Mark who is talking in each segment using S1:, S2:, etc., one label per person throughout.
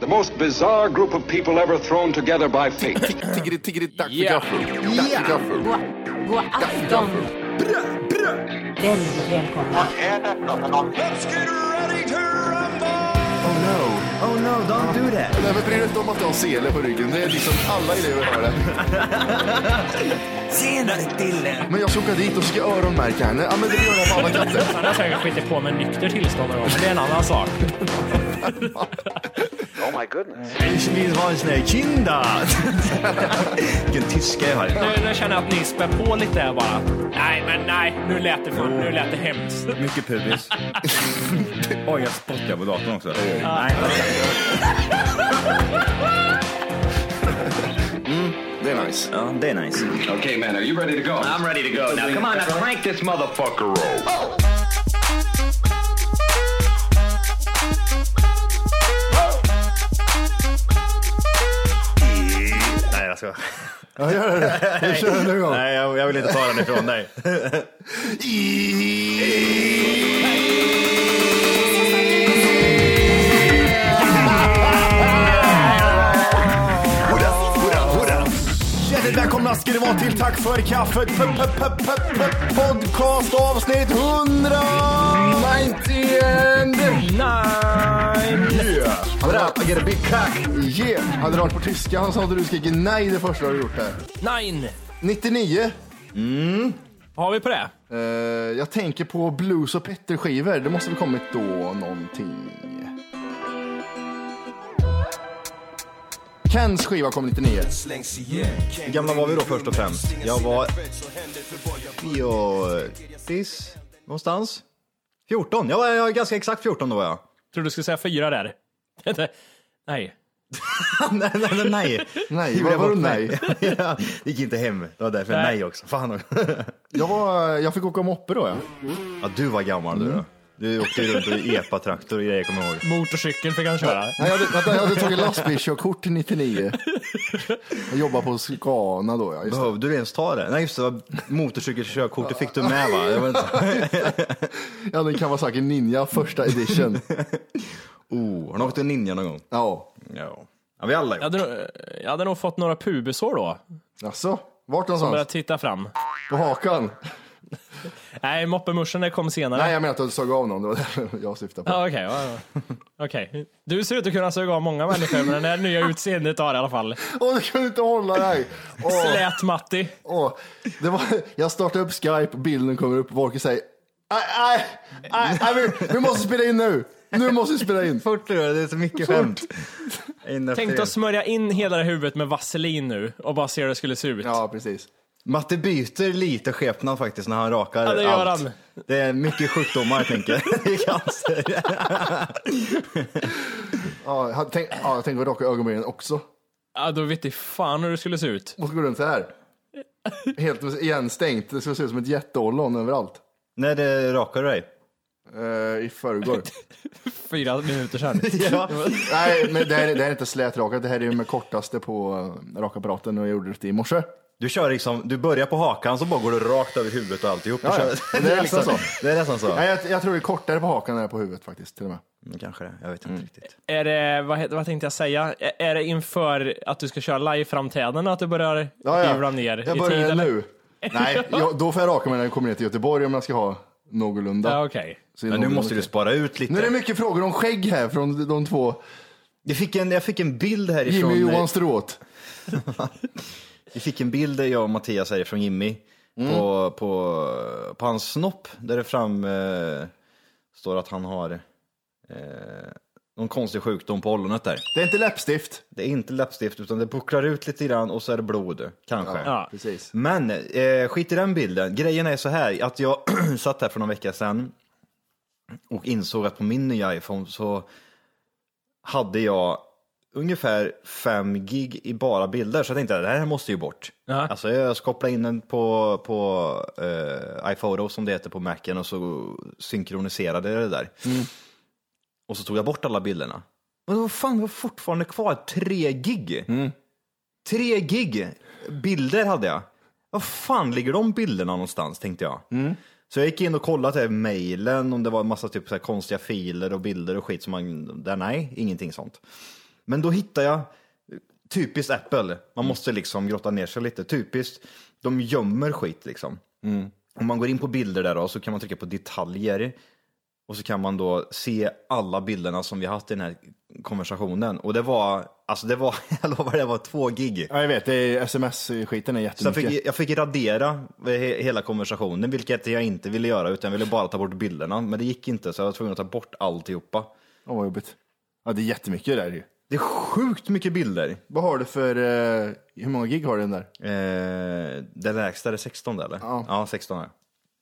S1: The most bizarre group of people ever thrown together by fate.
S2: Tiggeri, tiggeri, dack för
S3: Yeah.
S2: gaffel. Dack för gaffel.
S4: God, god afton. Väldigt välkomna.
S2: Oh no.
S5: Oh no, don't do that.
S2: Nej, men bryr dig inte om att du har sele på ryggen. Det är liksom alla elever har det.
S5: Senare Dille.
S2: Men jag ska åka dit och ska öronmärka henne. Ja, men det gör jag på alla katter.
S6: Han har säkert skitit på med nykter tillstånd någon gång, men det är en annan sak.
S5: Ich will was ne Kinder. Vilken tyska jag har.
S6: Nu, nu känner jag att ni spär på lite här bara. Nej, men nej, nu lät det, för, nu lät det hemskt.
S7: Mycket pubis. Oj, jag spottar på datorn också.
S2: Det är nice.
S7: Ja, Mm. det är nice.
S1: okay, man, are you ready to go?
S8: I'm ready to go. Now, come on, now crank this motherfucker roll.
S7: Nej, jag ska.
S2: Ja, gör det. Jag kör den nu gång.
S7: Nej, jag, jag vill inte ta den ifrån dig.
S2: Hjärtligt välkomna ska ni vara till Tack för kaffet p- p- p- p- p- podcast avsnitt 100! 99! Yeah! Bra, I get a big cock! Yeah! Hade du varit på tyska han sa att du skrikit nej det första du har gjort här.
S6: Nine!
S2: 99!
S6: Har vi på det?
S2: Eh, jag tänker på Blues och Petter-skivor. Det måste väl kommit då någonting. Kens skiva kom 99.
S7: Hur gamla var vi då först och främst? Jag var... Fjortis? Någonstans? 14. Jag var, jag var ganska exakt 14 då var jag.
S6: Tror du skulle säga fyra där? nej.
S7: nej, nej, nej, nej.
S2: Nej,
S7: Gjorde
S2: vad
S7: jag
S2: var det
S7: bort
S2: nej?
S7: mig? Ja, det gick inte hem. Det var därför
S6: Nej.
S7: nej, också. Fan också.
S2: Jag, var, jag fick åka moppe då, ja.
S7: ja, du var gammal du då. Du åkte ju runt i epatraktor och grejer, kommer jag ihåg.
S6: Motorcykeln fick han köra.
S2: Nej, jag, hade, vänta, jag hade tagit lastbilskörkort till 99. Jag jobbade på Scana då, ja. Just det.
S7: Behövde du ens ta det? Nej just det, det var motorcykelkörkort, det fick du med va? Jag var inte...
S2: Jag hade en Kawasaki Ninja första edition.
S7: oh, har du åkt en ninja någon gång?
S2: Ja,
S7: Ja. ja vi alla
S6: Jag
S7: gjort.
S6: hade, nog- jag hade nog fått några pubisår då.
S2: alltså, vart
S6: Börja
S2: någonstans?
S6: titta fram.
S2: På hakan?
S6: Nej, moppemorsan det kom senare.
S2: Nej, jag menar att jag såg av någon. Det var det jag syftade på.
S6: Ja, okej. ja, ja. Okej. Du ser ut att kunna suga av många människor med det här nya utseendet du har i alla fall.
S2: Åh, du kunde inte hålla dig! Åh.
S6: Slät-Matti.
S2: Åh, det var, jag startade upp Skype, bilden kommer upp, Walker säger nej, nej, nej, nej, vi, vi måste spela in nu. Nu måste vi spela in.
S7: Fort du, det är så mycket skämt. In efter
S6: Tänk dig
S7: er.
S6: att smörja in hela det huvudet med vaselin nu och bara se hur det skulle se ut.
S2: Ja, precis.
S7: Matte byter lite skepnad faktiskt när han rakar
S6: Ja, det gör
S7: allt.
S6: han.
S7: Det är mycket sjukdomar tänker jag. Det är cancer.
S2: Ja, jag hade tänkt, ja, jag tänkte raka ögonbrynen också.
S6: Ja, då vet du fan hur det skulle se ut.
S2: Måste gå runt så här. Helt igenstängt. Det skulle se ut som ett jätteollon överallt.
S7: när det rakar du dig?
S2: Eh, I förrgår.
S6: Fyra minuter sedan.
S7: Ja.
S2: Nej, men det här, det här är inte slätrakat. Det här är ju med kortaste på eh, rakapparaten och jag gjorde det i morse.
S7: Du kör liksom, du börjar på hakan så bara går du rakt över huvudet och alltihop.
S2: Ja, ja.
S7: Och kör-
S2: Det är nästan så.
S7: Det är nästan så.
S2: Nej, jag, jag tror det är kortare på hakan än på huvudet faktiskt. Till och med.
S7: Mm, Kanske det, jag vet inte riktigt.
S6: Är det, vad, he- vad tänkte jag säga? Ä- Är det inför att du ska köra live-framträdanden att du börjar
S2: Ja, ja.
S6: hyvla ner
S2: jag
S6: i tid?
S2: börjar
S6: eller?
S2: nu. Nej, jag, då får jag raka mig när jag kommer ner till Göteborg om jag ska ha någorlunda.
S6: Ja, okej.
S2: Så
S7: Men nu
S2: någorlunda
S7: måste du
S2: okej.
S7: spara ut lite.
S2: Nu är det mycket frågor om skägg här från de två.
S7: Jag fick en, jag fick en bild härifrån.
S2: Jimmy och Johan Stråth.
S7: Vi fick en bild, där jag och Mattias här från Jimmy, på, på, på hans snopp där det fram eh, står att han har eh, någon konstig sjukdom på ollonet där.
S2: Det är inte läppstift.
S7: Det är inte läppstift utan det bucklar ut lite grann och så är det blod, kanske.
S6: Ja.
S2: Precis.
S7: Men eh, skit i den bilden. Grejen är så här att jag satt här för någon vecka sedan och insåg att på min nya iPhone så hade jag ungefär 5 gig i bara bilder. Så jag tänkte det här måste ju bort.
S6: Ja.
S7: Alltså jag kopplade in den på, på eh, iPhoto som det heter på Macen och så synkroniserade jag det där. Och så tog jag bort alla bilderna. Men vad fan, det var fortfarande kvar 3 gig. Tre gig bilder hade jag. Vad fan ligger de bilderna någonstans tänkte jag. Så jag gick in och kollade här mejlen om det var en massa typ så här konstiga filer och bilder och skit som man, där nej, ingenting sånt. Men då hittar jag, typiskt Apple, man måste liksom grotta ner sig lite, typiskt, de gömmer skit liksom. Om man går in på bilder där då, så kan man trycka på detaljer och så kan man då se alla bilderna som vi har haft i den här konversationen. Och det var, alltså det var, jag lovar det var två gig.
S2: Ja, jag vet, det är sms-skiten är
S7: Så jag
S2: jättemycket.
S7: fick, jag fick radera eh, he- hela konversationen, vilket jag inte ville göra, utan jag ville bara ta bort bilderna. Men det gick inte, så jag var tvungen att ta bort alltihopa.
S2: Åh, vad jobbigt. Ja, det är jättemycket det där ju.
S7: Det är sjukt mycket bilder.
S2: Vad har du för, eh, hur många gig har du den där?
S7: Eh, det lägsta är 16 där, eller?
S2: Ja.
S7: 16 är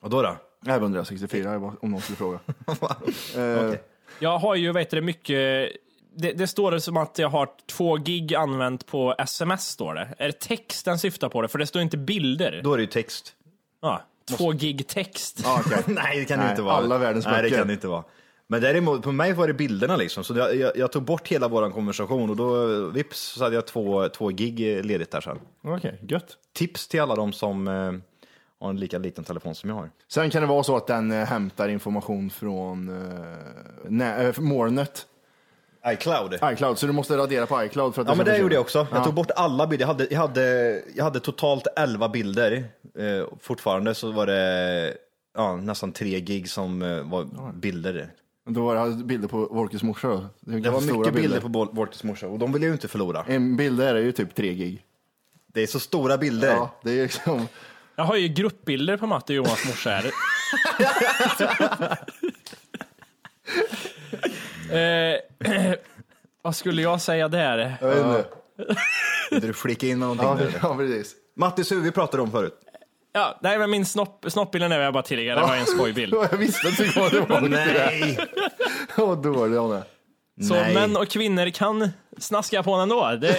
S7: Och då då?
S2: 164 jag bara- om någon skulle fråga.
S6: Jag har ju, vet du, mycket... Det, det står det som att jag har två gig använt på sms, står det. Är det texten syftar på det? För det står inte bilder.
S7: Då är det ju text.
S6: Ja, två gig text.
S2: Ja, okej.
S7: Nej, det kan det
S2: Nej,
S7: inte vara.
S2: alla världens
S7: Nej, det
S2: böcker.
S7: kan det inte vara. Men däremot, på mig var det bilderna liksom. Så jag, jag, jag tog bort hela vår konversation och då, eh, vips, så hade jag två, två gig eh, ledigt där sen.
S2: Okej, gött.
S7: Tips till alla de som eh, har en lika liten telefon som jag har.
S2: Sen kan det vara så att den eh, hämtar information från eh, nä- eh, molnet,
S7: iCloud.
S2: iCloud, så du måste radera på iCloud för att
S7: Ja men
S2: ska
S7: det gjorde jag
S2: försvinna.
S7: också. Jag tog bort alla bilder. Jag hade, jag hade, jag hade totalt 11 bilder. Eh, fortfarande så var det ja, nästan tre gig som eh, var bilder.
S2: Då var det bilder på Wolkes morsa då.
S7: Det var mycket bilder, på Bol- Wolters morsa och de vill jag ju inte förlora.
S2: En bild där är ju typ 3 gig.
S7: Det är så stora bilder.
S2: Ja, det är ju liksom...
S6: Jag har ju gruppbilder på Matte och Johans morsa här. eh, vad skulle jag säga där?
S2: Jag vet inte.
S7: Vill du flika in med någonting
S2: Ja,
S7: nu?
S2: ja, precis.
S7: Mattis huvud pratade om förut.
S6: Ja, nej, men min snopp, snoppbilden är jag bara tidigare. Det var en skojbild.
S2: Jag visste inte vad det var.
S7: Nej!
S2: Vad dålig han är.
S6: Så
S7: Nej.
S6: män och kvinnor kan snaska på den ändå. Det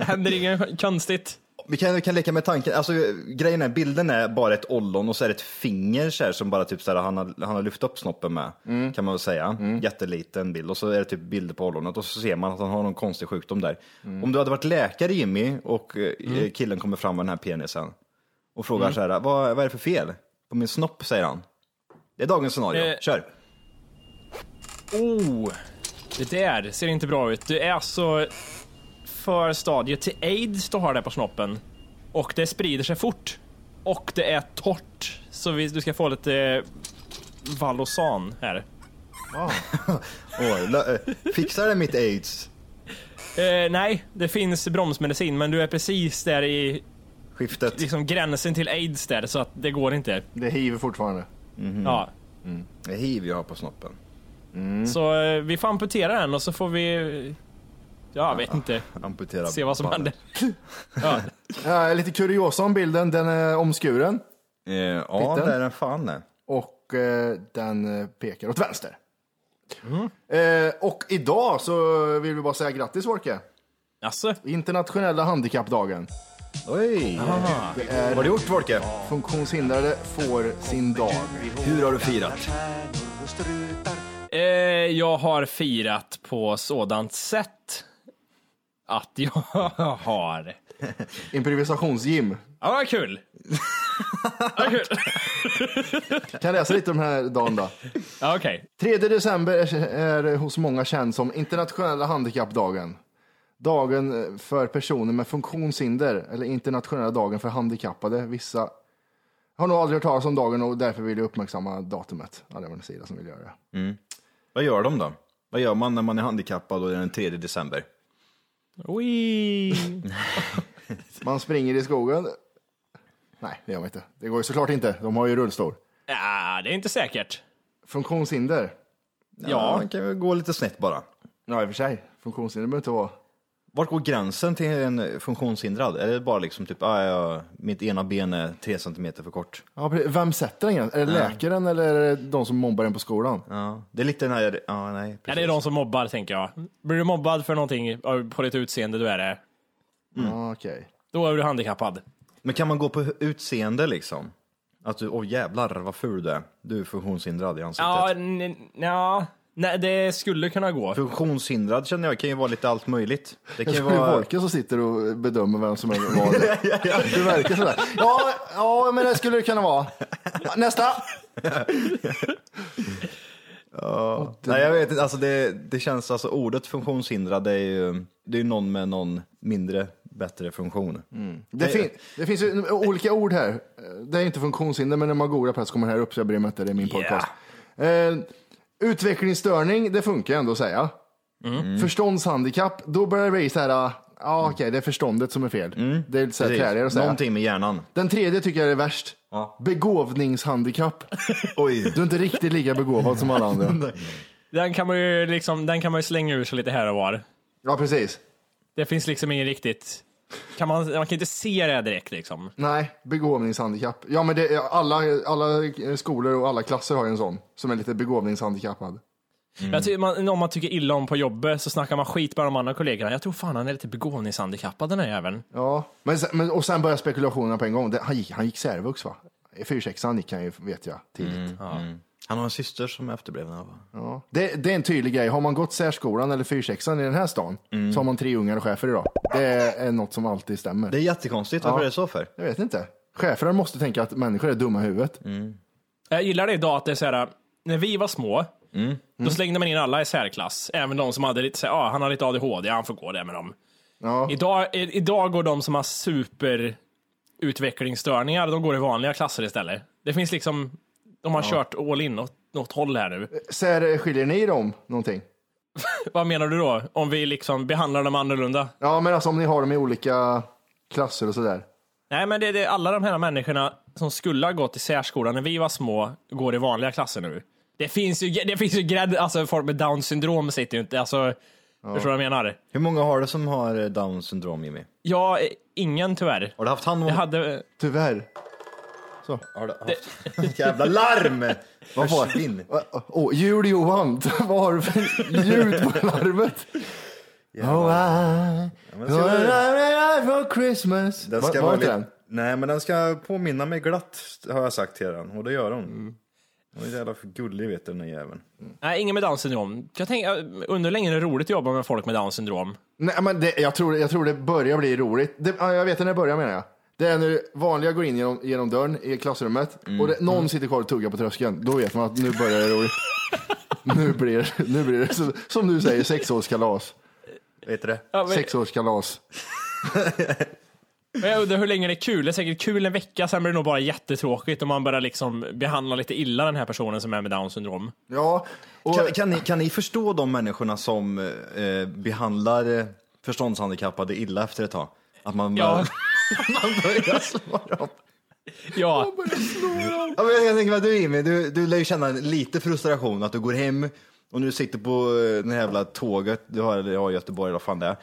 S6: händer inget konstigt.
S7: Vi kan, vi kan leka med tanken. Alltså, grejen är, bilden är bara ett ollon och så är det ett finger så här, som bara typ så här, han, har, han har lyft upp snoppen med.
S6: Mm.
S7: Kan man väl säga. Jätteliten bild. Och så är det typ bilder på ollonet och så ser man att han har någon konstig sjukdom där.
S6: Mm.
S7: Om du hade varit läkare Jimmy och eh, killen kommer fram med den här penisen och frågar
S6: Mm.
S7: så här, vad, vad är det för fel på min snopp? säger han. Det är dagens scenario.
S6: Eh.
S7: Kör!
S6: Oh, det där ser inte bra ut. Det är alltså för stadiet till aids du har det på snoppen. Och det sprider sig fort. Och det är torrt. Så vi, du ska få lite eh, Valosan här.
S7: Oj, la- eh, fixar det mitt aids?
S6: Eh, nej, det finns bromsmedicin men du är precis där i
S7: Skiftet.
S6: liksom gränsen till aids där så att det går inte.
S2: Det hiver fortfarande.
S6: Ja.
S7: Det är hiv jag har på snoppen.
S6: Så eh, vi får amputera den och så får vi... Ja, jag vet inte.
S7: Amputera
S6: Se vad som
S7: ballen.
S6: händer. Ja.
S2: Ja, lite kuriosa om bilden. Den är omskuren
S7: Eh, ja,
S2: Pitten.
S7: det är den fan det.
S2: och eh, den eh, pekar åt vänster. Eh, och idag så vill vi bara säga grattis Wolke.
S6: Alltså,
S2: Internationella handikappdagen.
S7: Oj! Vad har du gjort Folke?
S2: Funktionshindrade får sin dag.
S7: Hur har du firat?
S6: eh, jag har firat på sådant sätt att jag har...
S2: Improvisationsgym.
S6: Ja, vad kul! Ja, vad kul.
S2: Kan jag läsa lite om den här dagen då?
S6: Ja, okej.
S2: 3 december är, är hos många känd som internationella handikappdagen. Dagen eh, för personer med funktionshinder eller internationella dagen för handikappade. Vissa har nog aldrig hört talas om dagen och därför vill jag uppmärksamma datumet. Ja, det var en sida som vill göra det.
S7: Vad gör de då? Vad gör man när man är handikappad och det är den 3 december?
S6: Wee.
S2: Man springer i skogen. Nej, det gör man inte. Det går ju såklart inte. De har ju rullstol.
S6: Ja, det är inte säkert.
S2: Funktionshinder.
S7: Ja, man kan väl gå lite snett bara.
S2: Ja, i och för sig. Funktionshinder behöver inte vara...
S7: Vart går gränsen till en funktionshindrad? Är det bara liksom typ, ah, ja, mitt ena ben är 3 centimeter för kort?
S2: Ja, precis. vem sätter den? gränsen? Är det läkaren eller är det de som mobbar en på skolan?
S7: Ja, det är lite den här, ja nej.
S6: Ja,
S7: precis.
S6: det är de som mobbar, tänker jag. Blir du mobbad för någonting av- på ditt utseende, du är det.
S7: Mm.
S2: Ja, Mm. Okej.
S6: Då är du handikappad.
S7: Men kan man gå på utseende liksom? Att du, åh jävlar vad ful du är. Du är funktionshindrad i ansiktet.
S6: Ja, n- ja. Nej, det skulle kunna gå.
S7: Funktionshindrad känner jag kan ju vara lite allt möjligt. Det kan
S2: Jag
S7: ju
S2: tror det är
S7: vara...
S2: Wolke som sitter och bedömer vem som är vad. Du verkar sådär. Ja, ja, men det skulle det kunna vara. Nästa!
S7: Nej, jag vet inte. Alltså det, det känns, alltså ordet funktionshindrad, det är ju det är ju någon med någon mindre, bättre funktion.
S2: Det, fin det finns ju olika ord här. Det är inte funktionshinder, men när man googlar på det så kommer det här upp, så jag bryr mig inte, det är min podcast. Eh, utvecklingsstörning, det funkar ju ändå att säga.
S7: Mm.
S2: Förståndshandikapp, då börjar det bli så här, ah, ja okej, det är förståndet som är fel. Det är lite så här
S7: Mm. Precis.
S2: träligare att säga.
S7: Någonting med hjärnan.
S2: Den tredje tycker jag är värst.
S7: Ja.
S2: Begåvningshandikapp.
S7: Oj.
S2: Du är inte riktigt lika begåvad som alla andra.
S6: Den kan man ju liksom, den kan man ju slänga ur sig lite här och var.
S2: Ja, precis.
S6: Det finns liksom ingen riktigt... Kan man, man kan inte se det direkt liksom.
S2: Nej, begåvningshandikapp. Ja, men det, alla, alla skolor och alla klasser har ju en sån som är lite begåvningshandikappad.
S6: Jag tycker man, någon man tycker illa om på jobbet så snackar man skit med de andra kollegorna. Jag tror fan han är lite begåvningshandikappad den här jäveln.
S2: Ja, men, sen- men, och sen börjar spekulationerna på en gång. Det, han, gick, han gick särvux va? 4-6 gick han ju, vet jag, tidigt.
S7: Han har en syster som är efterbliven. va?
S2: Ja. Det, det är en tydlig grej. Har man gått särskolan eller 4-6 i den här stan så har man tre ungar och chefer idag. Det är något som alltid stämmer.
S7: Det är jättekonstigt, varför är det så för?
S2: Jag vet inte. Chefer måste tänka att människor är dumma i huvudet.
S6: Jag gillar det idag att det är så här, när vi var små, då slängde man in alla i särklass. Även de som hade lite, så här, ah, han har lite ADHD, han får gå där med dem.
S2: Ja.
S6: Idag, i, idag går de som har superutvecklingsstörningar, de går i vanliga klasser istället. Det finns liksom, de har kört all in åt något håll här nu.
S2: Sär, skiljer ni er om någonting?
S6: Vad menar du då? Om vi liksom behandlar dem annorlunda?
S2: Ja, men alltså om ni har dem i olika klasser och sådär.
S6: Nej, men det, det alla de här människorna som skulle ha gått i särskolan när vi var små går i vanliga klasser nu. Det finns ju, det finns ju grädd, alltså folk med down syndrom sitter ju inte, alltså, förstår du vad jag menar?
S7: Hur många har du som har eh, down syndrom Jimmy?
S6: Ja, eh, ingen tyvärr.
S7: Har du haft hand om...
S6: Jag hade,
S2: Tyvärr.
S7: Har du haft... Jävla larm! Vad var din?
S2: Åh, oh, jul Johan, vad har du för ljud på larmet? Oh, I,
S7: men ska
S2: oh, I for Christmas.
S7: Den
S2: Va-
S7: ska
S2: var
S7: vara
S2: inte
S7: lite...
S2: den?
S7: Nej, men den ska påminna mig glatt, har jag sagt till den. Och det gör hon.
S2: Mm.
S7: Hon är jävla gullig, vet du, den där jäveln.
S6: nej, ingen med down syndrom. Jag tänker, jag undrar hur länge det är roligt att jobba med folk med down syndrom.
S2: Nej, men det, jag, tror, jag tror det börjar bli roligt. Det, ja, jag vet när det börjar menar jag. Det är när vanliga går in genom, genom dörren i klassrummet
S7: Mm.
S2: och det, någon sitter kvar och tuggar på tröskeln. Då vet man att nu börjar det roligt. nu blir, nu blir det, så- som du säger, sexårskalas.
S7: Vet du det?
S6: Ja, men,
S2: Sexårskalas.
S6: men jag undrar hur länge det är kul. Det är säkert kul en vecka, sen blir det nog bara jättetråkigt om man börjar liksom behandla lite illa den här personen som är med down syndrom.
S2: Ja, och,
S7: Kan, kan, ni, kan ni förstå de människorna som eh, behandlar eh, förståndshandikappade illa efter ett tag? Att man
S6: Ja.
S7: man börjar slå dem.
S6: Ja,
S7: Ja, men jag tänker att du Jimmy, du, du lär ju känna lite frustration att du går hem och nu sitter på eh, det här jävla tåget, du har, eller ja, Göteborg eller vad fan det är.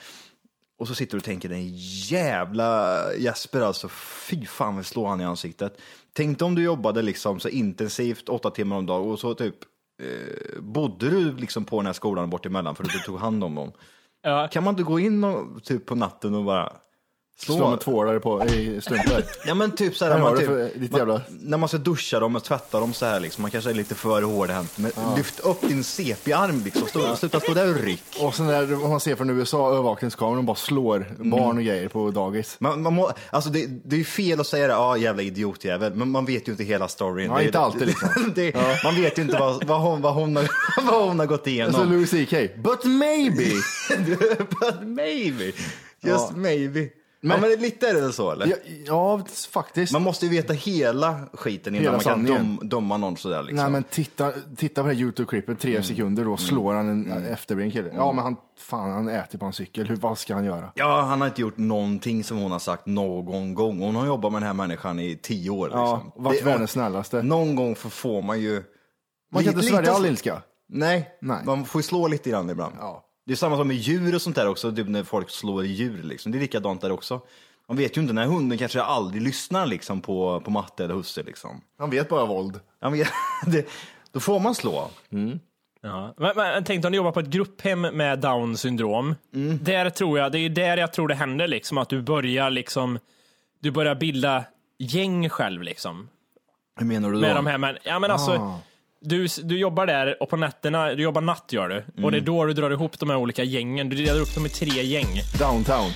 S7: Och så sitter du och tänker den jävla Jesper alltså, fy fan vi slår han i ansiktet. Tänk dig om du jobbade liksom så intensivt åtta timmar om dagen och så typ eh, bodde du liksom på den här skolan bort emellan för att du tog hand om dem.
S6: Ja.
S7: Kan man inte gå in och, typ på natten och bara slå?
S2: slå med tvålar på i strumpor.
S7: Ja men typ såhär,
S2: Här har
S7: man,
S2: du
S7: typ,
S2: för- ditt
S7: man,
S2: jävla-
S7: när man ska duscha dem och tvätta dem så här liksom, man kanske är lite för hårdhänt, men lyft upp din CP-arm liksom, stå, sluta stå där och ryck.
S2: Och sen där, vad man ser från USA, övervakningskameran bara slår barn och grejer på dagis.
S7: Man, man må, alltså det, det är ju fel att säga det, ja jävla idiotjävel, men man vet ju inte hela storyn.
S2: Ja,
S7: det, är-
S2: inte alltid, liksom.
S7: det, Man vet ju inte vad, vad, hon, vad, hon, har, vad hon har gått
S2: Så
S7: igenom.
S2: Alltså, Louis CK, but maybe.
S7: But maybe, just
S2: Ja.
S7: maybe. ja, men lite är det väl så eller?
S2: ja, ja, faktiskt.
S7: Man måste ju veta hela skiten innan
S2: Hela
S7: man kan
S2: sanningen.
S7: dom, döma någon sådär liksom.
S2: Nej men titta, titta på det här YouTube-klippet, tre sekunder, då slår han en mm. efterbliven kille. Ja men han, fan han äter på en cykel, Hur, vad ska han göra?
S7: Ja, han har inte gjort någonting som hon har sagt någon gång. Hon har jobbat med den här människan i tio år. Liksom.
S2: Ja, varit
S7: Det-
S2: världens snällaste.
S7: Någon gång får, får man ju...
S2: Man kan
S7: Lite-
S2: inte svälja
S7: lite-
S2: all ilska.
S7: Nej,
S2: Nej.
S7: man får ju slå lite grann ibland.
S2: Ja.
S7: Det är samma som med djur och sånt där också, typ när folk slår djur. Liksom. Det är likadant där också. Man vet ju inte, den här hunden kanske aldrig lyssnar liksom, på, på matte eller husse. Liksom.
S2: Han vet bara våld.
S7: Ja, men, det, då får man slå.
S6: Ja. Men, men tänk dig om du jobbar på ett grupphem med down syndrom. Där tror jag, det är där jag tror det händer liksom att du börjar liksom, du börjar bilda gäng själv liksom.
S7: Hur menar du då?
S6: Med de här men, ja men alltså, du, du jobbar där och på nätterna, du jobbar natt gör du. Och det är då du drar ihop de här olika gängen, du delar upp dem i tre gäng.
S2: Downtown.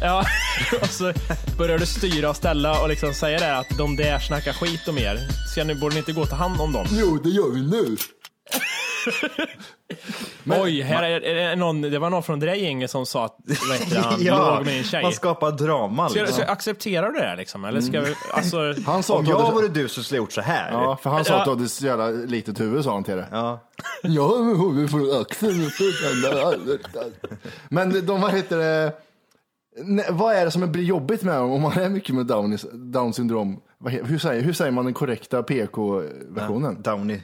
S6: Ja, och så börjar du styra och ställa och liksom säga det här att de där snackar skit om er. Så nu borde ni inte gå och ta hand om dem.
S2: Jo, det gör vi nu.
S6: Oj, här är, är det någon, det var någon från det där gänget som sa att vad heter han
S7: Ja,
S6: låg med en tjej.
S7: man skapar drama
S6: Ska,
S7: liksom.
S6: ska, accepterar du det här liksom? Eller ska vi, alltså,
S2: Han sa
S7: Om
S2: att du hade-
S7: jag vore du så skulle jag gjort så här.
S2: Ja, för han sa
S6: Ja.
S2: att du hade så jävla litet huvud, sa han till dig.
S7: Ja.
S2: Jag har huvud från axeln. Men de, vad heter det? Nej, Vad är det som blir jobbigt med om man är mycket med Down, Down syndrom? Vad he- Hur säger, hur säger man den korrekta PK-versionen?
S7: Downy.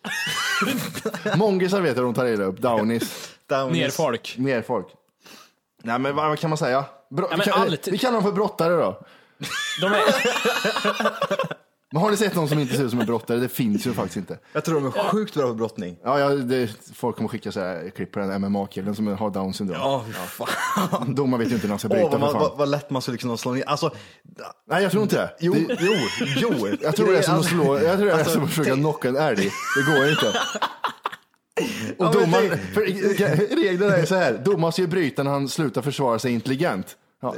S2: Mongisar vet jag de tar illa upp. Downies.
S7: Downies.
S6: ner folk.
S2: Ner folk. Nej, men vad, vad kan man säga? Bro,
S6: men
S2: vi, kan,
S6: allt-
S2: vi kallar dem för brottare då.
S6: De är,
S2: Men har ni sett någon som inte ser ut som en brottare? Det finns ju faktiskt inte.
S7: Jag tror de är sjukt bra på brottning.
S2: Ja, ja det, folk kommer skicka så här klipp på den MMA-killen som har Down syndrom.
S7: Ja, fy fan.
S2: Domaren vet ju inte när han ska bryta
S7: Åh, vad,
S2: för
S7: man-
S2: fan.
S7: vad, vad lätt man skulle liksom slå ner. Alltså,
S2: Nej, jag tror inte det.
S7: jo,
S2: det
S7: jo, jo.
S2: jag tror det är som att
S7: alltså-
S2: slå, jag tror det är
S7: alltså,
S2: som att försöka
S7: tänk-
S2: knocka en älg. Det går inte. Och
S7: Ja, men
S2: domaren,
S7: tänk-
S2: för, reglerna är så här, domaren ska ju bryta när han slutar försvara sig intelligent. Ja.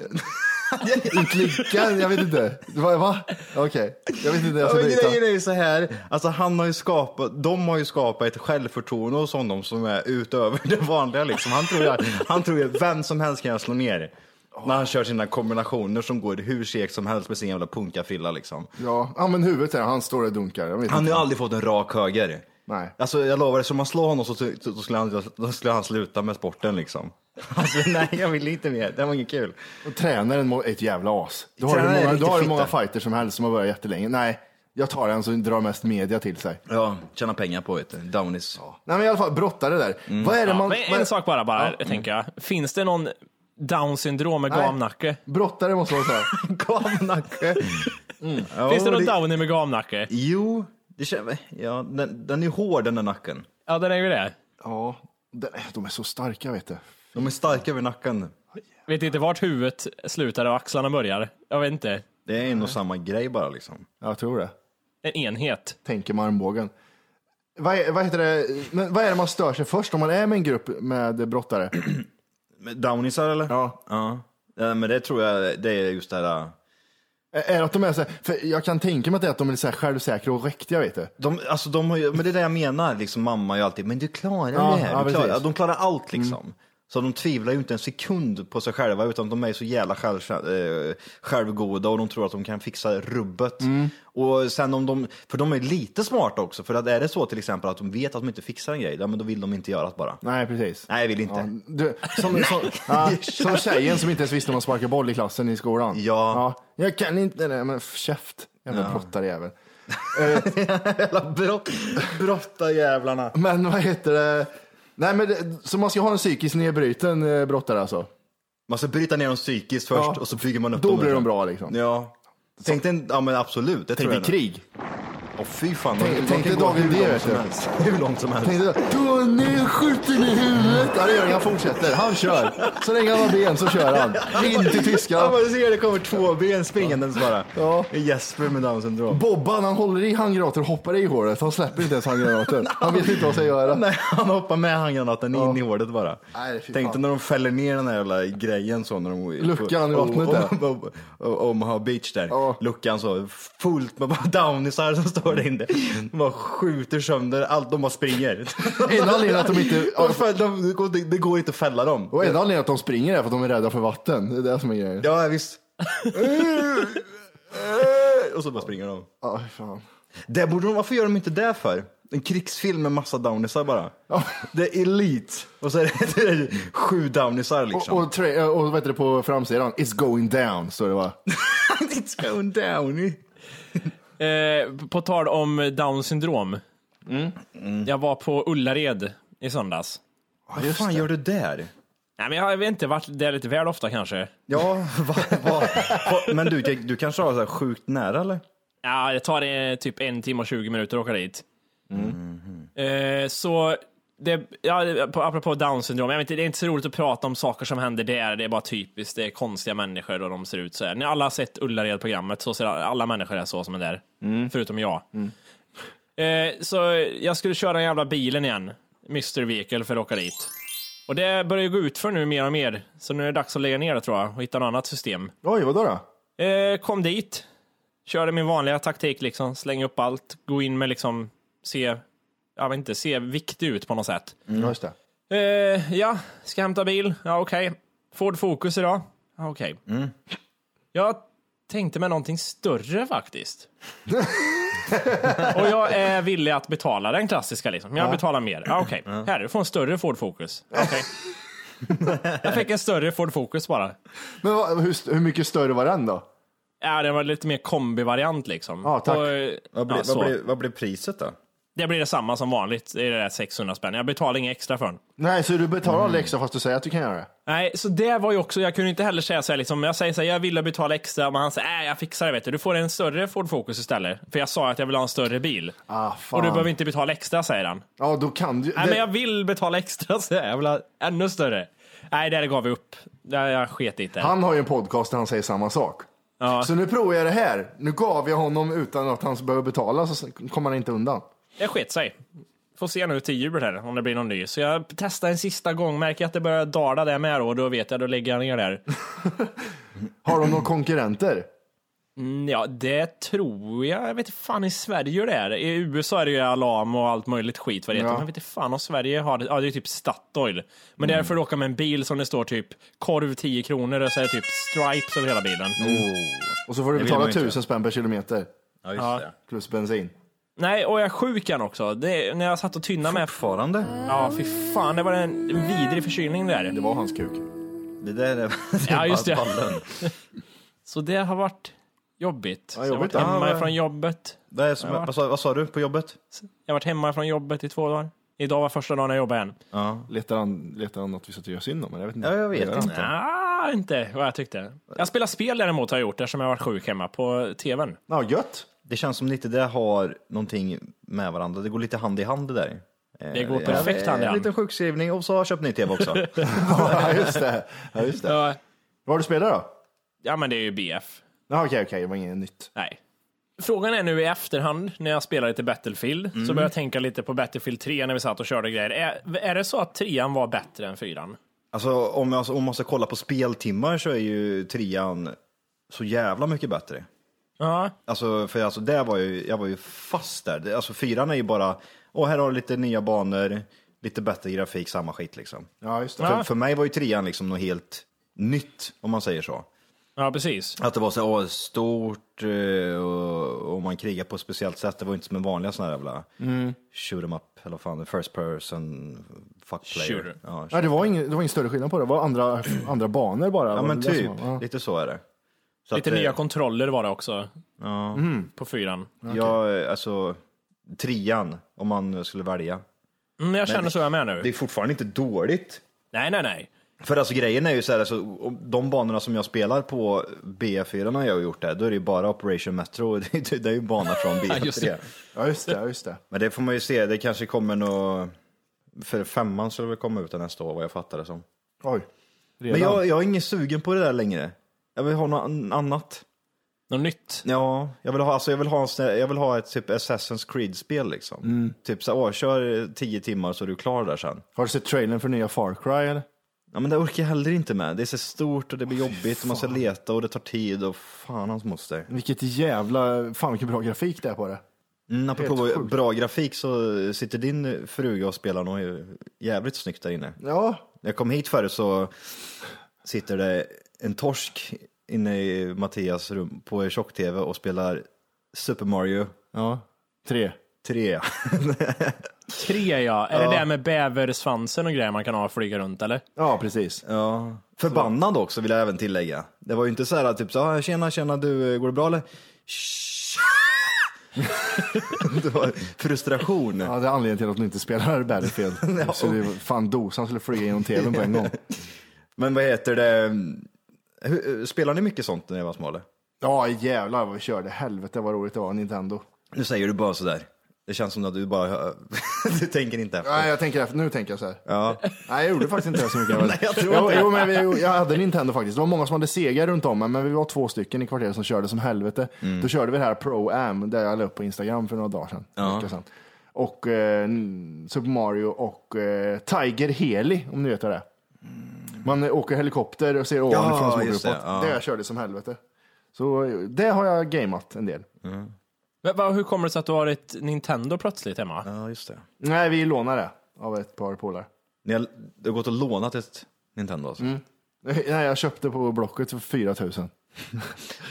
S2: intelligent, jag vet inte. Va? va? Okej, jag vet inte jag
S7: Ja,
S2: ska
S7: men
S2: bryta.
S7: grejen är ju så här, alltså han har ju skapat, de har ju skapat ett självförtroende hos honom som är utöver det vanliga liksom. Han tror ju, han tror ju att vem som helst kan jag slå ner. När han kör sina kombinationer som går hur segt som helst med sin jävla punkafrilla liksom.
S2: Ja, använd huvudet där, han står där och dunkar. Jag vet
S7: Han har ju
S2: inte.
S7: aldrig fått en rak höger.
S2: Nej.
S7: Alltså jag lovar, skulle man slå honom så, så, så skulle, han, då skulle han sluta med sporten liksom. Alltså nej, jag vill inte mer. Det var inget kul.
S2: Och tränaren må- är ett jävla as. Då har du
S7: Tränaren är
S2: många, då
S7: riktigt
S2: har du
S7: fitta.
S2: många fighters som helst som har börjat jättelänge. Nej, jag tar den som drar mest media till sig.
S7: Ja, tjäna pengar på det. Downies.
S2: Nej men i alla fall, brottare där. Vad är det man...
S6: Mm. men en
S2: vad är-
S6: sak bara, bara tänker jag. Finns det någon down syndrom med
S2: Nej.
S6: gamnacke?
S2: Brottare måste man säga.
S7: Gamnacke. Mm.
S6: Finns det någon downy med gamnacke?
S7: Jo, det känner, ja, den, den är hård den där nacken.
S6: Ja, den är ju det.
S2: ja, de- de är så starka vet du.
S7: De är starka över nacken.
S6: Vet inte vart huvudet slutar och axlarna börjar. Jag vet inte.
S7: Det är en och samma grej bara liksom.
S2: Jag tror det.
S6: En enhet.
S2: Tänker med armbågen. Vad, är- vad heter det, men vad är det man stör sig först om man är med en grupp med brottare?
S7: Men Downisar eller?
S2: Ja.
S7: ja. Ja, men det tror jag, det är just det här. äh,
S2: Är är det att de är så här, för jag kan tänka mig att det är att de är så här självsäkra och riktiga vet du.
S7: De, alltså, de har ju, men det är det jag menar, liksom, mamma är ju alltid, men du klarar
S2: Ja,
S7: det här.
S2: ja,
S7: du klarar,
S2: precis. Mm.
S7: de klarar allt liksom. Så de tvivlar ju inte en sekund på sig själva utan de är så jävla själv, eh, självgoda och de tror att de kan fixa rubbet.
S2: Mm.
S7: Och sen om de, för de är lite smarta också, för att är det så till exempel att de vet att de inte fixar en grej, ja, men då vill de inte göra det bara.
S2: Nej precis.
S7: Nej, jag vill inte.
S2: Ja, du, som, som, ja, som tjejen som inte ens visste om man sparkade boll i klassen i skolan.
S7: Ja.
S2: ja jag kan inte det, men f- käft. Jävla brottarjävel.
S7: Jävla brott, brotta jävlarna.
S2: Men vad heter det? Nej, men det, så man ska ha en psykiskt nedbruten eh, brottare alltså?
S7: Man ska bryta ner dem psykiskt först
S2: Ja.
S7: och så bygger man upp
S2: Då
S7: dem.
S2: blir de
S7: liksom.
S2: bra liksom.
S7: Ja. Tänk dig, en- ja men absolut. Det
S2: Tänk
S7: tror jag
S2: dig
S7: nog.
S2: krig.
S7: Åh fy fan,
S2: Tänk-
S7: de,
S2: tänk
S7: de
S2: dig
S7: kan gå
S2: dagen
S7: hur
S2: det,
S7: långt
S2: vet
S7: som
S2: du.
S7: helst. Hur långt som helst.
S2: Tänk dig, Tony skjuter i huvudet. Ja, det gör det. Han fortsätter. Han kör. Så länge han har ben så kör han. In till
S7: Ja,
S2: tyskarna.
S7: man ser det kommer två ben springandes bara.
S2: Ja.
S7: Jesper med Downs syndrom.
S2: Bobban, han håller i handgranater och hoppar i hålet. Han släpper inte ens handgranaten. Han vet inte vad han ska göra.
S7: Nej, han hoppar med handgranaten in i hålet bara.
S2: Nej, fy
S7: Tänk
S2: fan.
S7: dig när de fäller ner den där jävla grejen så när de...
S2: Luckan i
S7: och-
S2: vattnet
S7: och-
S2: där.
S7: och- och- Omaha Beach där.
S2: Ja.
S7: Luckan så fullt med bara downisar som står där inne. De bara skjuter sönder allt, de bara springer.
S2: Enda anledningen att de inte... ja,
S7: De fäll- de- det går- det- Det går inte att fälla dem.
S2: Och enda anledningen att de springer är för att de är rädda för vatten. Det är det som är grejen.
S7: Ja, visst. och så bara springer de.
S2: Ja, fy fan.
S7: Det borde de, varför gör de inte det för? En krigsfilm med massa downisar bara.
S2: Ja.
S7: Det är elit. Och så är det, det är sju downisar
S2: Och,
S7: liksom.
S2: och, tra- och vad heter det på framsidan? It's going down, står det va?
S7: It's going down.
S6: Eh, på tal om down syndrom. Jag var på Ullared i söndags.
S7: Vad fan gör du där?
S6: Nej, men jag vet inte, vart det är lite väl ofta kanske.
S7: Ja, va, va, va, men du, du kanske har så här sjukt nära eller?
S6: Ja, det tar eh, typ en timme och 20 minuter att åka dit. Eh, så, det, ja, på- apropå down syndrom, jag vet inte, det är inte så roligt att prata om saker som händer där, det är bara typiskt, det är konstiga människor och de ser ut så här. Ni alla har sett Ullared-programmet, så ser alla, alla människor är så som är där, förutom jag. Eh, så jag skulle köra den jävla bilen igen, Mr. Vehicle, för att åka dit. Och det börjar ju gå ut för nu mer och mer, så nu är det dags att lägga ner det tror jag och hitta något annat system.
S2: Oj, vadå då?
S6: Eh, kom dit, körde min vanliga taktik liksom, släng upp allt, gå in med liksom, se jag vet inte, se viktig ut på något sätt.
S7: Mm.
S2: Ja, just det.
S6: Eh, ja, ska hämta bil. Ja, okej. Ford Focus idag. Ja, okej. Jag tänkte mig någonting större faktiskt. och jag är villig att betala den klassiska liksom. Jag betalar mer. Ja, okej. Här, du får en större Ford Focus. Okej. jag fick en större Ford Focus bara.
S2: Men vad, hur, st- hur mycket större var den då?
S6: Ja, det var lite mer kombivariant liksom.
S2: Ja, tack.
S6: Och,
S7: Vad blir,
S6: ja, så.
S7: vad blir, vad blir priset då?
S6: Det blir detsamma som vanligt. Det är det där 600 spänn. Jag betalar inget extra för den.
S2: Nej, så du betalar aldrig extra fast du säger att du kan göra det?
S6: Nej, så det var ju också, jag kunde inte heller säga så här liksom, jag säger så här, jag ville betala extra, men han säger, nej jag fixar det vet du, du får en större Ford Focus istället. För jag sa att jag vill ha en större bil.
S2: Ah, fan.
S6: Och du behöver inte betala extra, säger han.
S2: Ja, då kan du.
S6: Nej
S2: det-
S6: men jag vill betala extra, säger jag, jag vill ha ännu större. Nej, det där gav vi upp. Jag, jag sket i det.
S2: Han har ju en podcast där han säger samma sak.
S6: Ja.
S2: Så nu provar jag det här. Nu gav jag honom utan att han behöver betala, så kommer han inte undan.
S6: Det sket sig. Får se nu till jul här om det blir någon ny. Så jag testar en sista gång, märker jag att det börjar dala där med då, då vet jag, då lägger jag ner där.
S2: Har de några konkurrenter?
S6: Mm, Ja, det tror jag. Jag vet inte fan i Sverige hur det är. I USA är det ju alarm och allt möjligt skit vad det heter.
S2: Ja.
S6: Men jag vet inte fan om Sverige har det. Ja, det är typ Statoil. Men
S2: Mm.
S6: där får du åka med en bil som det står typ korv 10 kronor och så är det typ stripes över hela bilen.
S2: Mm. Och så får du
S7: vill
S2: betala
S7: man ju inte.
S2: tusen spänn per kilometer
S7: Ja, just det.
S2: plus bensin.
S6: Nej, och jag är sjuk än också. Det, när jag satt och tynnade med...
S7: Fortfarande?
S6: Ja, fy fan. Det var en en vidrig förkylning det där.
S2: Det var hans kuk.
S7: Det där är...
S6: Ja, just det.
S7: ballen.
S6: Så det har varit jobbigt.
S2: Ja,
S6: Så jag har
S2: jobbigt,
S6: varit
S2: ja.
S6: hemma
S7: Ja, men-
S6: från jobbet.
S7: Det är som, vad, sa, vad sa du på jobbet?
S6: Jag har varit hemma från jobbet i två dagar. Idag var första dagen jag jobbade igen.
S7: Ja,
S2: Letar han, letar han något vi ska göra synd om? eller? Jag vet inte.
S7: ja jag vet inte.
S6: Ah, inte vad jag tyckte. Jag spelar spel däremot har jag gjort eftersom jag varit sjuk hemma på tvn.
S2: Ja, gött.
S7: Det känns som lite det har någonting med varandra. Det går lite hand i hand det där. Eh,
S6: Det går
S7: ja,
S6: perfekt hand i hand.
S7: En liten sjukskrivning och så har jag köpt ny tv också.
S2: ja, just det. Ja, just det.
S6: Ja.
S2: Vad har du spelat då?
S6: Ja, men det är ju BF.
S2: Ja, okej, okej, det var inget nytt.
S6: Nej. Frågan är nu i efterhand när jag spelar lite Battlefield
S7: Mm.
S6: så börjar jag tänka lite på Battlefield 3 när vi satt och körde grejer. Är, är det så att 3 var bättre än 4?
S7: Alltså om, jag, om man ska kolla på speltimmar så är ju trean så jävla mycket bättre.
S6: Ja,
S7: Alltså, för alltså, där var jag, ju, jag var ju fast där. Det- Alltså fyran är ju bara, åh här har du lite nya banor, lite bättre grafik, samma skit liksom.
S2: Ja, just det.
S7: För, för mig var ju trean liksom något helt nytt, om man säger så.
S6: ja precis.
S7: Att det var så åh, stort eh, och, och man krigar på ett speciellt sätt. Det var ju inte som en vanliga sån här jävla
S6: Mm.
S7: shoot em up, eller vad fan, first person, fuck player.
S6: Shooter.
S7: Ja,
S2: Ja, det, var ingen, det var ingen större skillnad på det. Det var andra, andra banor bara.
S7: ja
S2: Var
S7: men
S2: det det
S7: typ,
S2: som var? Ja.
S7: lite så är det. Så
S6: Lite
S7: att, eh,
S6: nya kontroller var det också Mm, på 4.
S7: Ja, alltså trean, om man skulle välja.
S6: Mm, jag känner så jag med nu.
S7: Det är fortfarande inte dåligt.
S6: Nej, nej, nej.
S7: För alltså grejen är ju så här, alltså, om de banorna som jag spelar på BF4 när jag har gjort det, då är det ju bara Operation Metro, det är ju- det är ju bana från
S6: just
S7: BF3.
S6: det.
S2: ja, just det. ja, Just det.
S7: Men det får man ju se, det kanske kommer nå... För femman skulle väl komma ut nästa år vad jag fattar det som.
S2: Oj. Redan.
S7: Men jag, jag är ingen sugen på det där längre. Jag vill ha något an- annat.
S6: Något nytt.
S7: Ja, jag vill ha, alltså jag vill ha, en, sån- jag vill ha ett typ Assassin's Creed-spel liksom.
S2: Mm.
S7: Typ så här, åh, kör 10 timmar så är du klar där sen.
S2: Har du sett trailern för nya Far Cry? Eller?
S7: Ja men det orkar jag heller inte med. Det är så stort och det blir jobbigt och man ska leta och det tar tid och fan hans moster.
S2: Vilket jävla, fan vilken bra grafik det är på det.
S7: Mm, apropå
S2: sjukt.
S7: bra grafik så sitter din fruga och spelar nog jävligt snyggt där inne.
S2: Ja,
S7: När jag kom hit förut så sitter det en torsk inne i Mattias rum på tjock-tv och spelar Super Mario
S2: ja. tre.
S7: 3.
S6: 3 ja. Är det det med bäversvansen och grejer man kan ha och flyga runt eller?
S2: Ja, precis.
S7: Ja. Förbannad också vill jag även tillägga. Det var ju inte så här typ så här, tjena, tjena du, går det bra eller? Shh. det var frustration.
S2: Ja, det är anledningen till att du inte spelar Battlefield. Så det är fan dosan skulle flyga genom tvn på en gång.
S7: Men vad heter det? Hur- Spelar ni mycket sånt när ni var små eller?
S2: Ja, jävlar vad vi körde. Helvete vad roligt det var, Nintendo.
S7: Nu säger du bara sådär. Det känns som att du bara, du tänker inte efter.
S2: Nej, jag tänker efter. Nu tänker jag så här.
S7: Ja.
S2: Nej, jag gjorde faktiskt inte det så mycket.
S7: Nej, jag tror
S2: jo,
S7: inte.
S2: jo, men vi- jo, jag hade Nintendo faktiskt. Det var många som hade Sega runt om mig, men vi var två stycken i kvarteret som körde som helvete.
S7: Mm.
S2: Då körde vi det här Pro Am, där jag la upp på Instagram för några dagar sedan. en vecka sedan. Och eh, n- Super Mario och eh, Tiger Heli, om ni vet vad det är. Man eh, åker helikopter och ser ovanifrån som åker
S7: Mm. just
S2: uppåt.
S7: det,
S2: Det,
S7: ja.
S2: jag körde som helvete. Så eh, det har jag gameat en del.
S6: Men, vad- hur kommer det sig att du har ett Nintendo plötsligt hemma?
S7: Ja, just det.
S2: Nej, vi lånar det av ett par polare.
S7: Ni har, du har gått och lånat ett Nintendo alltså?
S2: Nej, jag köpte på Blocket för 4000.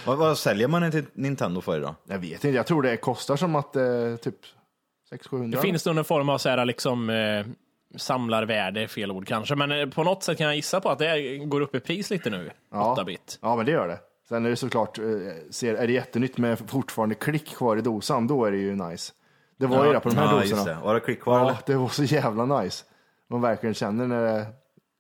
S7: Vad, vad säljer man ett Nintendo för idag?
S2: Jag vet inte, jag tror det kostar som att eh, typ 600-700.
S6: Det finns nog någon form av så här, liksom, eh, samlarvärde, är fel ord kanske, men eh, på något sätt kan jag gissa på att det här går upp i pris lite nu. 8-bit.
S2: Ja, men det gör det. Sen är det såklart, eh, ser, är det jättenytt med fortfarande klick kvar i dosan, då är det ju nice. Det var ju det på de här
S7: ja, just det.
S2: dosorna.
S7: Var det klick kvar
S2: Ja,
S7: eller?
S2: det var så jävla nice. Man verkligen känner när det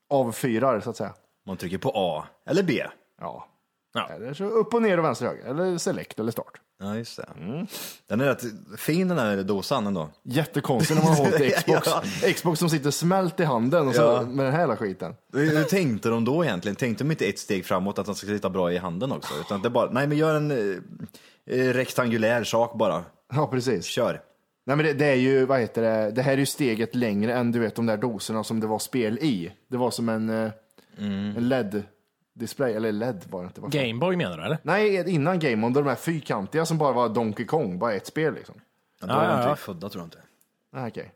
S2: avfyrar så att säga.
S7: Man trycker på A eller B.
S2: Ja.
S6: Ja.
S2: Eller så upp och ner och vänster och höger, eller select eller start.
S7: Ja, just det. Den är rätt fin den här dosan ändå.
S2: Jättekonstigt när man har hållit i Xbox.
S7: Ja.
S2: Xbox som sitter smält i handen och så
S7: Ja.
S2: med den här jävla skiten.
S7: Hur hur tänkte de då egentligen? Tänkte de inte ett steg framåt att den ska sitta bra i handen också? Utan att det är bara, nej men gör en eh, eh, rektangulär sak bara.
S2: Ja, precis.
S7: Kör.
S2: Nej, men det, det är ju, vad heter det, det här är ju steget längre än du vet de där doserna som det var spel i. Det var som en, eh, en LED-display, eller LED var det inte. vad fan.
S6: Gameboy menar du eller?
S2: Nej, innan Game On, de här fyrkantiga som bara var Donkey Kong, bara ett spel liksom.
S7: Ja, då är de
S6: ja,
S7: inte
S6: ja.
S7: födda tror jag inte.
S2: Nej, okej.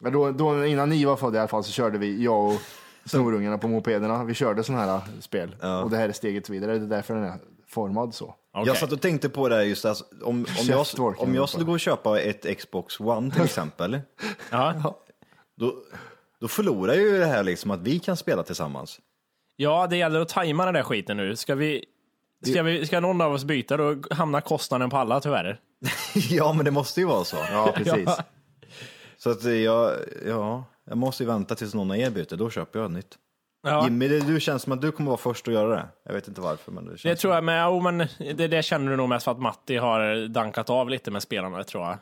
S2: Men då, då, innan ni var födda i alla fall så körde vi, jag och snorungarna på mopederna, vi körde sådana här eh, spel. Och det här är steget vidare, det är därför den är formad så.
S6: Okej.
S7: Jag satt och tänkte på det här just alltså, om, om, jag,
S2: Käftvorken
S7: om
S2: ungefär.
S7: jag skulle gå och köpa ett Xbox One till exempel,
S6: ja.
S7: då, då förlorar ju det här liksom att vi kan spela tillsammans.
S6: ja, det gäller att tajma den där skiten nu. Ska vi... Ska, vi, ska någon av oss byta då hamnar kostnaden på alla tyvärr.
S7: ja, men det måste ju vara så.
S2: Ja, precis.
S7: Så att eh, jag, ja, jag måste ju vänta tills någon av er byter, då köper jag ett nytt.
S6: Ja.
S7: Jimmy, det, du känns som att du kommer vara först att göra det. Jag vet inte varför, men det
S6: Det
S7: känns...
S6: tror jag, men, jo, men det, det känner du nog mest för att Matti har dankat av lite med spelarna tror jag.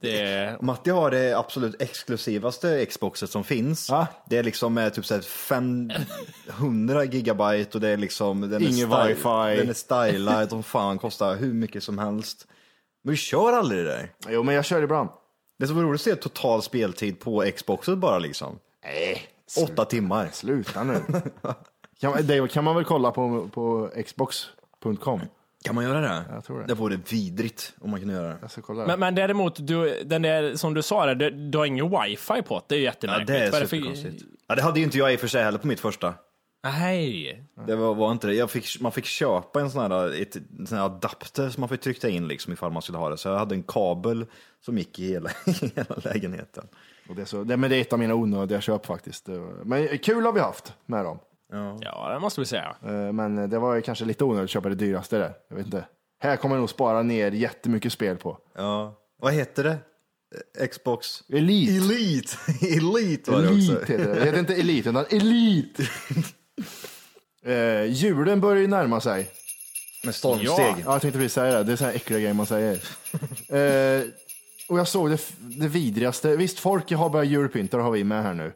S6: Det,
S7: Matti har det absolut exklusivaste Xboxet som finns.
S2: Ja.
S7: Det är liksom eh, typ så här 500 gigabyte och det är liksom... Den är
S2: Ingen
S7: sty-
S2: wifi.
S7: Den är stylad och fan kostar hur mycket som helst. Men du kör aldrig det där.
S2: Jo, men jag kör ibland.
S7: Det som är roligt att se total speltid på Xboxet bara liksom.
S2: Eh.
S7: Nej. Åtta timmar.
S2: Sluta nu. kan, man- det kan man väl kolla på, på xbox.com?
S7: Kan man göra det?
S2: Jag tror det.
S7: Det vore vidrigt om man kunde göra det.
S2: Jag ska kolla.
S6: men, men däremot, du, den där, som du sa, där, du, du har ingen wifi på det. Det är ju
S7: Ja,
S6: jättemärkligt.
S7: det
S6: Vad
S7: är
S6: för-
S7: superkonstigt. Ja, det hade ju inte jag i och för sig heller på mitt första.
S6: Nej.
S7: Det var, var inte det. Jag fick, man fick köpa en sån här, ett, en sån här adapter som man fick trycka in liksom ifall man skulle ha det. Så jag hade en kabel som gick i hela, i hela lägenheten.
S2: Och det, är så, det, men det är ett av mina onödiga köp faktiskt. Det var- Men kul har vi haft med dem.
S6: Ja, det måste vi säga.
S2: Eh, Men det var ju kanske lite onödigt att köpa det dyraste där. Jag vet inte. Här kommer jag nog spara ner jättemycket spel på.
S7: Ja. Vad heter det? Eh, Xbox?
S2: Elite.
S7: Elite! Elite var det
S2: Elite
S7: också.
S2: heter det. Det heter inte Elite, utan Elite. Eh, julen börjar ju närma sig.
S7: Med stormsteg.
S2: Ja, jag tänkte precis säga det. Det är sådana äckliga grejer man säger. eh, och jag såg det, f- det vidrigaste. Visst, folk har börjat julpynta, det har vi med här nu.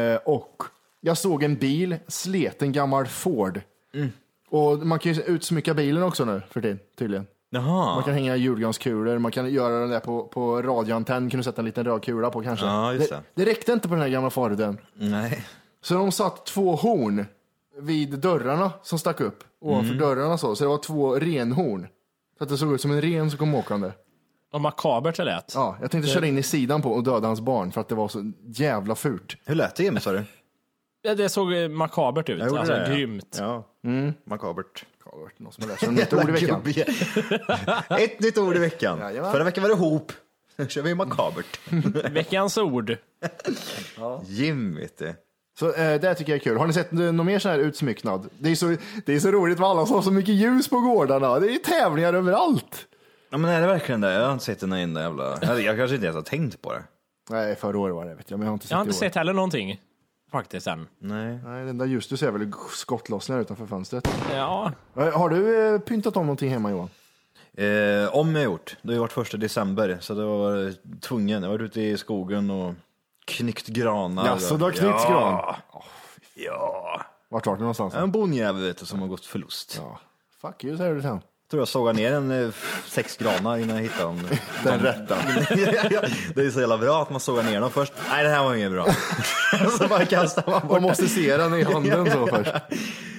S2: Eh, och jag såg en bil, slet en gammal Ford.
S7: Mm.
S2: Och man kan ju utsmycka bilen också nu för tiden, tydligen. Man
S7: Jaha.
S2: kan hänga julgranskulor, man kan göra den där på, på radioantenn, kan du sätta en liten röd kula på kanske.
S7: Ja, just det.
S2: det räckte inte på den här gamla Forden.
S7: Nej.
S2: Så de satt två horn vid dörrarna som stack upp ovanför
S6: Mm.
S2: dörrarna så. Så det var två renhorn. Så att det såg ut som en ren som kom åkande.
S6: Vad makabert det lät.
S2: Ja, jag tänkte köra in i sidan på och döda hans barn för att det var så jävla fult.
S7: Hur lät det Jimmy sa du?
S6: Det, det såg eh, makabert ut.
S7: gjorde
S6: Alltså,
S7: det, ja.
S6: grymt.
S7: Ja. Makabert.
S2: Någon som har lärt sig något nytt ord i veckan.
S7: Gubbe. Ett nytt ord i veckan.
S2: Jajamän.
S7: Förra veckan var det hop. Nu kör vi makabert.
S6: Veckans ord.
S7: Jim vet du.
S2: Så eh, det tycker jag är kul. Har ni sett eh, någon mer sån här utsmycknad? Det är så, det är så roligt med alla som har så mycket ljus på gårdarna. Det är ju tävlingar överallt.
S7: Ja men är det verkligen det? Jag har inte sett den enda jävla... Eller, Jag kanske inte ens har tänkt på det.
S2: Nej, förra året var det vet jag, men jag har inte sett
S6: Jag har inte
S2: i år.
S6: sett heller någonting faktiskt
S7: Mm.
S6: än.
S7: Nej.
S2: Nej, den där just du ser väl skottlossningar utanför fönstret.
S6: Ja,
S2: Eh, Har du eh, pyntat om någonting hemma Johan?
S7: Eh, om jag gjort. Det har ju varit första december så det var tvungen. Jag har varit ute i skogen och knyckt granar.
S2: Jaså, du har knyckt gran?
S7: Ja.
S2: Vart var det någonstans?
S7: En bondjävel vet du som har gått förlust.
S2: Ja. Fuck you säger du sen.
S7: tror jag sågade ner en eh, sex granar innan jag hittade dem.
S2: Den rätta.
S7: det är så jävla bra att man sågar ner dem först. Nej, det här var inget bra. så bara kastar man bort
S2: Man måste se den i handen så först.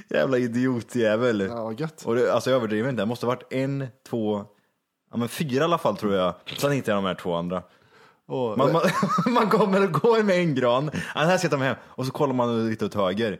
S7: Jävla idiotjävel.
S2: Ja, vad gött.
S7: Och det, alltså jag överdriver inte, det måste varit en, två, ja, ja, men fyra i alla fall tror jag. Sen hittade jag de här två andra.
S2: Och,
S7: Man, man, man kommer och går med en gran. Ja, den här ska jag ta med hem. Och så kollar man lite åt höger.